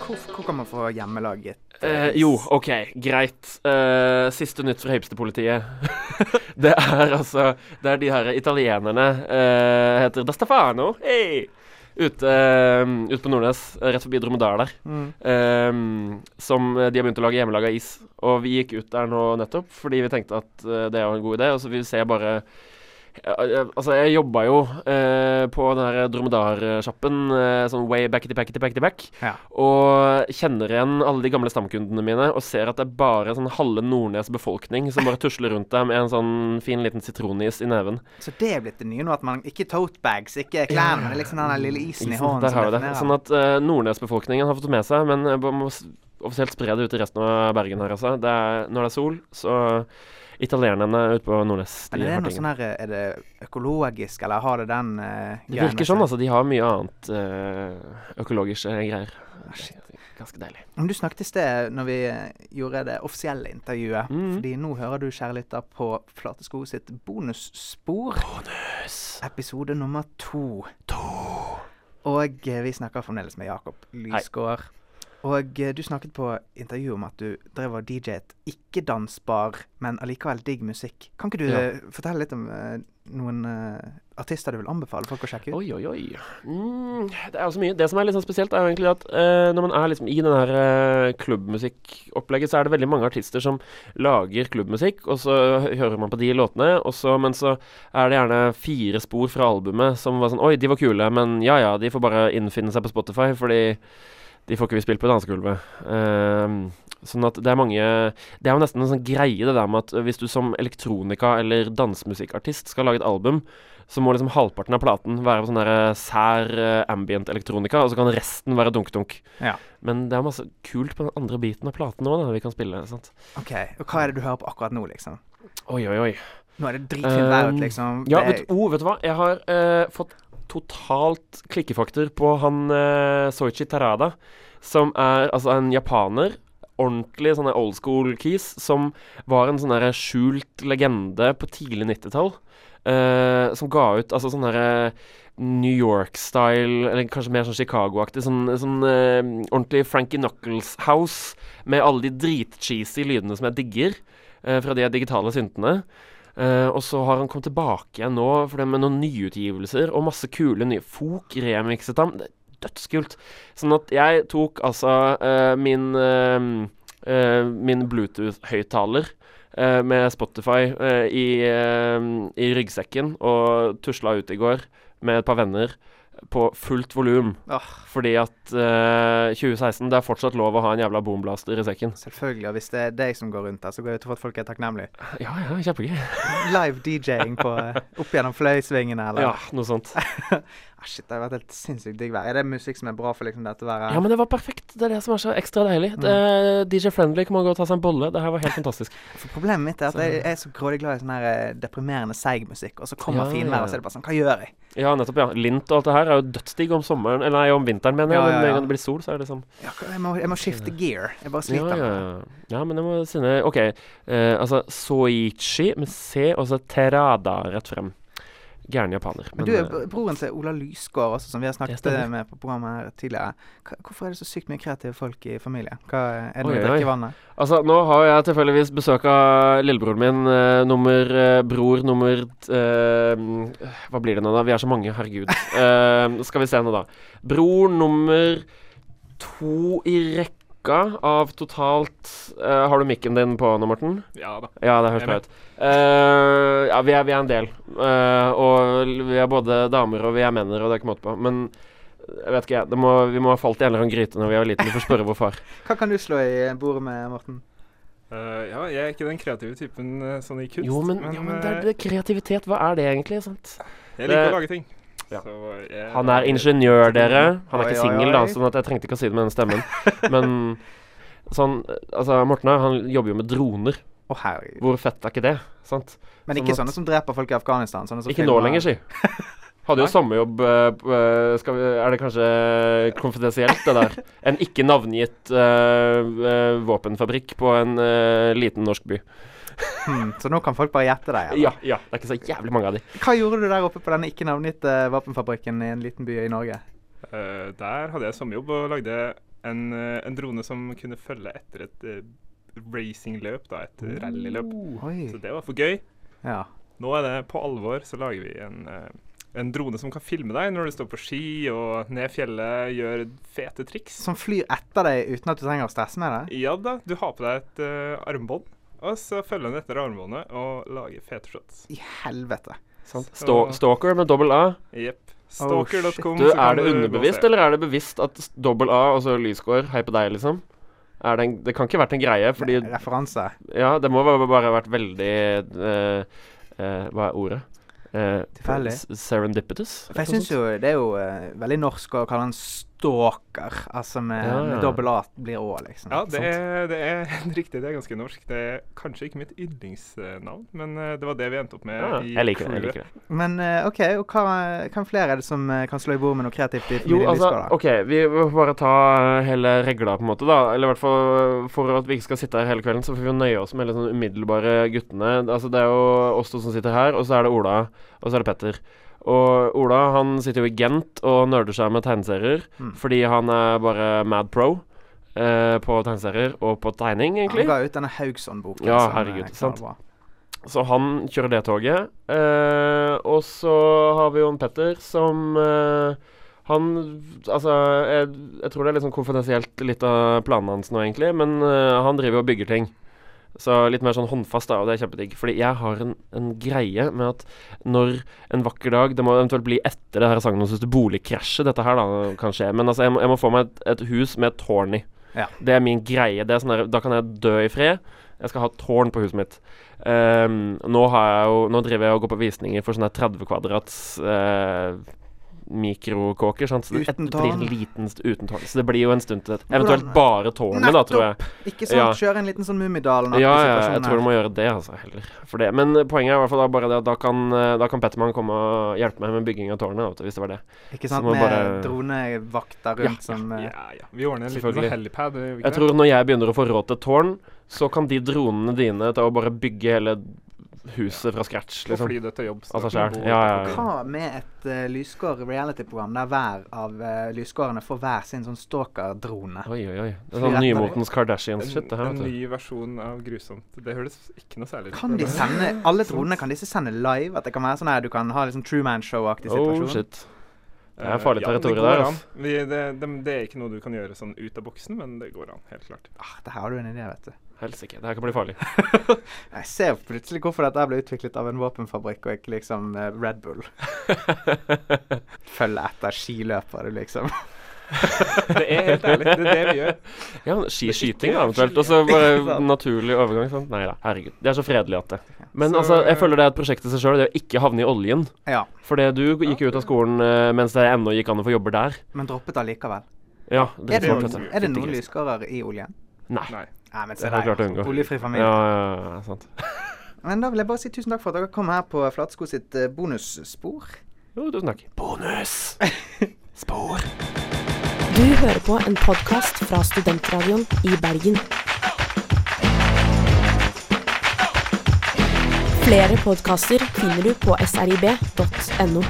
hvor, hvor kan man få hjemmelaget Eh, jo, OK, greit. Eh, siste nytt fra hipsterpolitiet. det er altså Det er de her italienerne eh, Heter Dastafano. Hey! Ute, eh, ute på Nordnes, eh, rett forbi Dromedar der. Mm. Eh, som eh, de har begynt å lage hjemmelaga is. Og vi gikk ut der nå nettopp fordi vi tenkte at eh, det var en god idé. Og så vi ser bare ja, ja, Altså, jeg jobba jo eh, på den her dromedarsjappen eh, sånn way backety backety backety back. Ja. Og kjenner igjen alle de gamle stamkundene mine og ser at det er bare sånn halve Nordnes befolkning som bare tusler rundt deg med en sånn fin liten sitronis i neven. Så det er blitt det nye nå, at man ikke totebags, ikke klærne, men liksom den der lille isen i hånden. Der som har vi det. definerer. Sånn at eh, Nordnes-befolkningen har fått det med seg, men eh, man må s- offisielt spre det ut i resten av Bergen her, altså. Det er, når det er sol, så Italienerne ute på Nordnes, men er de det har noe ting. sånn her, eh, er det økologisk, eller har det den uh, Det virker sånn, altså. De har mye annet eh, økologiske greier. Det er Ganske deilig. Men du snakket i sted når vi eh, gjorde det offisielle intervjuet, Mhm. fordi nå hører du, kjære lytter, på Flatesko sitt bonusspor. Episode nummer to. Og eh, vi snakker fremdeles med Jakob Lysgård. Og eh, du snakket på intervjuet om at du drev og DJ-et ikke-dansbar, men allikevel digg musikk. Kan ikke du Ja. eh, fortelle litt om eh, noen eh, artister du vil anbefale folk å sjekke ut? Oi, oi, oi. Mm, det er jo så mye. Det som er litt sånn spesielt, er jo egentlig at eh, når man er liksom i den her eh, klubbmusikkopplegget, så er det veldig mange artister som lager klubbmusikk, og så hø- hører man på de låtene, og så, men så er det gjerne fire spor fra albumet som var sånn Oi, de var kule, men ja ja, de får bare innfinne seg på Spotify, fordi de får ikke vi spilt på dansegulvet. Ehm, sånn at det er mange Det er jo nesten en sånn greie det der med at eh, hvis du som elektronika- eller dansemusikkartist skal lage et album, så må liksom halvparten av platen være sånn der eh, sær eh, ambient-elektronika, og så kan resten være dunk-dunk. Ja. Men det er masse kult på den andre biten av platen òg, da, vi kan spille. sant? Ok, Og hva er det du hører på akkurat nå, liksom? Oi, oi, oi. Nå er det dritfint vær Um, ute, liksom. Ja, det, vet, oh, vet du hva? Jeg har eh, fått totalt klikkefaktor på han eh, Soichi Terada, som er altså en japaner. Ordentlig sånne old school keys, som var en sånn derre skjult legende på tidlig 90-tall. eh, som ga ut altså sånn derre New York-style, eller kanskje mer sånn Chicago-aktig. Sånn, sånn eh, ordentlig Frankie Knuckles-house med alle de dritcheesy lydene som jeg digger eh, fra de digitale syntene. Eh, og så har han kommet tilbake igjen nå for det med noen nyutgivelser og masse kule nye folk remikset ham. Det er dødskult. Sånn at jeg tok altså eh, min eh, eh, Min Bluetooth-høyttaler eh, med Spotify eh, i, eh, i ryggsekken og tusla ut i går med et par venner på fullt volum. åh, Fordi at eh, 2016, det er fortsatt lov å ha en jævla boomblaster i sekken. Selvfølgelig. Og hvis det er deg som går rundt der, så går jeg ut fra at folk er takknemlige. Ja, ja, kjempegøy. Live DJ-ing på, eh, opp gjennom fløysvingene, eller? Ja, noe sånt. Ah, shit, det har vært helt sinnssykt digg vær. Er det musikk som er bra for liksom dette været? Ja, men det var perfekt. Det er det som er så ekstra deilig. Mm. Det, DJ Friendly kan man gå og ta seg en bolle. Det her var helt fantastisk. For problemet mitt er at Så- jeg er så grådig glad i sånn her eh, deprimerende seig musikk, og så kommer Ja, finværet, ja, ja. og så er det bare sånn Hva gjør jeg? Ja, nettopp, ja. Lint og alt det her er jo dødsdigg om sommeren Eller nei, om vinteren, mener jeg. Ja, ja, Men med ja. en gang det blir sol, så er det sånn Ja, hva- jeg, må, jeg må skifte gear. Jeg bare ja, sliter. med ja, det. ja. ja, men jeg må sinne OK. eh, altså Soichi med C, og så Terada rett frem. Gæren japaner. eh, Men eh, du er br- broren til Ola Lysgård også, som vi har snakket stemmer. eh, med på programmet her tidligere. Hva- Hvorfor er det så sykt mye kreative folk i familien? Hva er det Oi, med oi, oi. drikkevannet? Altså, nå har jeg tilfeldigvis besøk av lillebroren min, eh, nummer eh, bror nummer eh, Hva blir det nå, da? Vi er så mange, herregud. Eh, skal vi se nå, da. Bror nummer to i rekka av totalt eh, Har du mikken din på nå, Morten? Ja da. Ja, det høres Jeg er bra med. ut. Eh, ja, vi er, vi er en del. Eh, og l- vi er både damer og vi er menner, og det er ikke måte på. Men jeg vet ikke, jeg. Det må, vi må ha falt i en eller annen gryte når vi var liten. Vi får spørre vår far. Hva kan du slå i bordet med, Morten? Eh, ja, jeg er ikke den kreative typen eh, sånn i kunst. Jo, men, ja, men eh, det er det, kreativitet. Hva er det egentlig? sant? eh, jeg liker det- å lage ting. Ja. Så jeg- Han er ingeniør, dere. Han er Eh, Oi, ikke oi, singel, da, oi. sånn at jeg trengte ikke å si det med den stemmen. Men sånn Altså, Morten her, han jobber jo med droner. Å, herregud. Hvor fett er ikke det? sant? Men Sånn ikke at- sånne som dreper folk i Afghanistan. Sånne som Ikke nå filmer- lenger, si. Hadde jo sommerjobb eh, p- eh, skal vi, Er det kanskje konfidensielt, det der? En ikke navngitt eh, eh, våpenfabrikk på en eh, liten norsk by. Hmm, så nå kan folk bare gjette deg. eller? Ja, ja. Det er ikke så jævlig mange av de. Hva gjorde du der oppe på denne ikke navngitte våpenfabrikken i en liten by i Norge? Eh, der hadde jeg sommerjobb og lagde en, eh, en drone som kunne følge etter et eh, racingløp, da, et rallyløp. Så Oi. det var for gøy. Ja. Nå er det på alvor, så lager vi en, eh, en drone som kan filme deg når du står på ski og ned fjellet, gjør fete triks. Som flyr etter deg uten at du trenger å stresse med det? Ja da, du har på deg et eh, armbånd, og så følger den etter armbåndet og lager fete shots. I helvete. Sant? Så- Stalk- Stalker med dobbel A. Jepp. Oh, shit. Stalker.com. Du, så kan er det gå og se. underbevisst, eller er det bevisst at s- dobbel A og så lysgård, hei på deg, liksom? Er det, en, det kan ikke vært en greie, fordi Re- Referanse. Ja, det må bare, bare ha vært veldig eh, eh, Hva er ordet? Eh, Tilfeldig. s- Serendipitous? For jeg syns jo det er jo eh, veldig norsk å kalle han stalker, altså med, Ja, ja. med dobbel A blir Å, liksom. Ja, det sant? er, det er helt riktig. Det er ganske norsk. Det er kanskje ikke mitt yndlingsnavn, men eh, det var det vi endte opp med Ja, i jeg liker det. jeg crewet. liker det Men eh, OK, og hva, hvem flere er det som eh, kan slå i bord med noe kreativt i Jo, familien altså, Lysgård, da? OK, vi må bare ta eh, hele regla, på en måte, da. Eller i hvert fall for at vi ikke skal sitte her hele kvelden, så får vi jo nøye oss med litt sånn umiddelbare guttene. Altså, det er jo oss to som sitter her, og så er det Ola, og så er det Petter. Og Ola han sitter jo i Gent og nerder seg med tegneserier Mm. fordi han er bare mad pro eh, på tegneserier og på tegning, egentlig. Han ga ut denne Haugsson-boken. Ja, som eh, er herregud, sant. knallbra. Så han kjører det toget. Eh, og så har vi jo en Petter som eh, Han Altså, jeg, jeg tror det er litt sånn konfidensielt litt av planene hans nå, egentlig, men eh, han driver og bygger ting. Så litt mer sånn håndfast, da, og det er kjempedigg. Fordi jeg har en, en greie med at når en vakker dag Det må eventuelt bli etter det her sagnomsuste boligkrasjet dette her da kan skje, men altså, jeg må, jeg må få meg et, et hus med et tårn i. Ja. Det er min greie. Det er sånn der, da kan jeg dø i fred. Jeg skal ha tårn på huset mitt. Ehm, nå, har jeg jo, nå driver jeg og går på visninger for sånne 30 kvadrats eh, mikrokåker. sant? Så det- Uten det blir tårn. liten st- uten tårn. Så det blir jo en stund til dette. Hvordan- Eventuelt bare tårnet, da, tror jeg. Ikke sant? Ja. Kjøre en liten sånn Mummidalen-aktig Ja, ja, jeg situasjon tror du her. må gjøre det, altså, heller. For det. Men eh, poenget er i hvert fall da bare det at da kan, eh, da kan Pettermann komme og hjelpe meg med bygging av tårnet, vet du, hvis det var det. Ikke sant? må Med bare- dronevakter Ja, rundt som eh, Ja, ja. Vi ordner en liten Selvfølgelig. sånn helipad. gjør vi ikke Jeg tror når jeg begynner å få råd til et tårn, så kan de dronene dine ta og bare bygge hele huset fra scratch, det? Og liksom. fly det til jobb. så Av seg kan selv. du bo- Ja, ja, ja. Hva med et uh, lysgård reality-program der hver av uh, lysgårdene får hver sin sånn stalker-drone? Oi, oi, oi. Det er Fly sånn rett ned. nymotens Kardashians-shit, det En, her, en vet du. ny versjon av Grusomt. Det høres ikke noe særlig ut. Kan de sende Alle dronene, kan disse sende live? At det kan være sånn her du kan ha litt sånn True Man Show-aktig Oh, situasjon? shit. Det er farlig Eh, men territorium går der, an. ass. Vi, det, det, det er ikke noe du kan gjøre sånn ut av boksen, men det går an. Helt klart. ah, der har du en idé, vet du. Helsike, det her kan bli farlig. Jeg ser plutselig hvorfor dette her ble utviklet av en våpenfabrikk og ikke liksom eh, Red Bull. Følge etter skiløpere, liksom. Det er helt ærlig. Det er det vi gjør. Ja, men skiskyting da, eventuelt. Og så Ikke bare sant? naturlig overgang. Sånn. Nei da, herregud. Det er så fredelig at det. Men Så- altså, jeg føler det er et prosjekt i seg sjøl, det å ikke havne i oljen. Ja, For det du gikk jo ut av skolen eh, mens det ennå gikk an å få jobber der. men droppet allikevel. Ja, Er det noen, smart, vet du. er det Fytti noen grisen. lysgårder i oljen? Nei. Nei. Nei, men Det se har der. jeg klart å unngå. Oljefri Ja, familie. ja, ja, ja, sant. Men da vil jeg bare si tusen takk for at dere kom her på Flatsko sitt eh, bonusspor. Jo, tusen takk. Bonus! Spor. Du hører på en podkast fra Studentradioen i Bergen. Flere podkaster finner du på srib.no.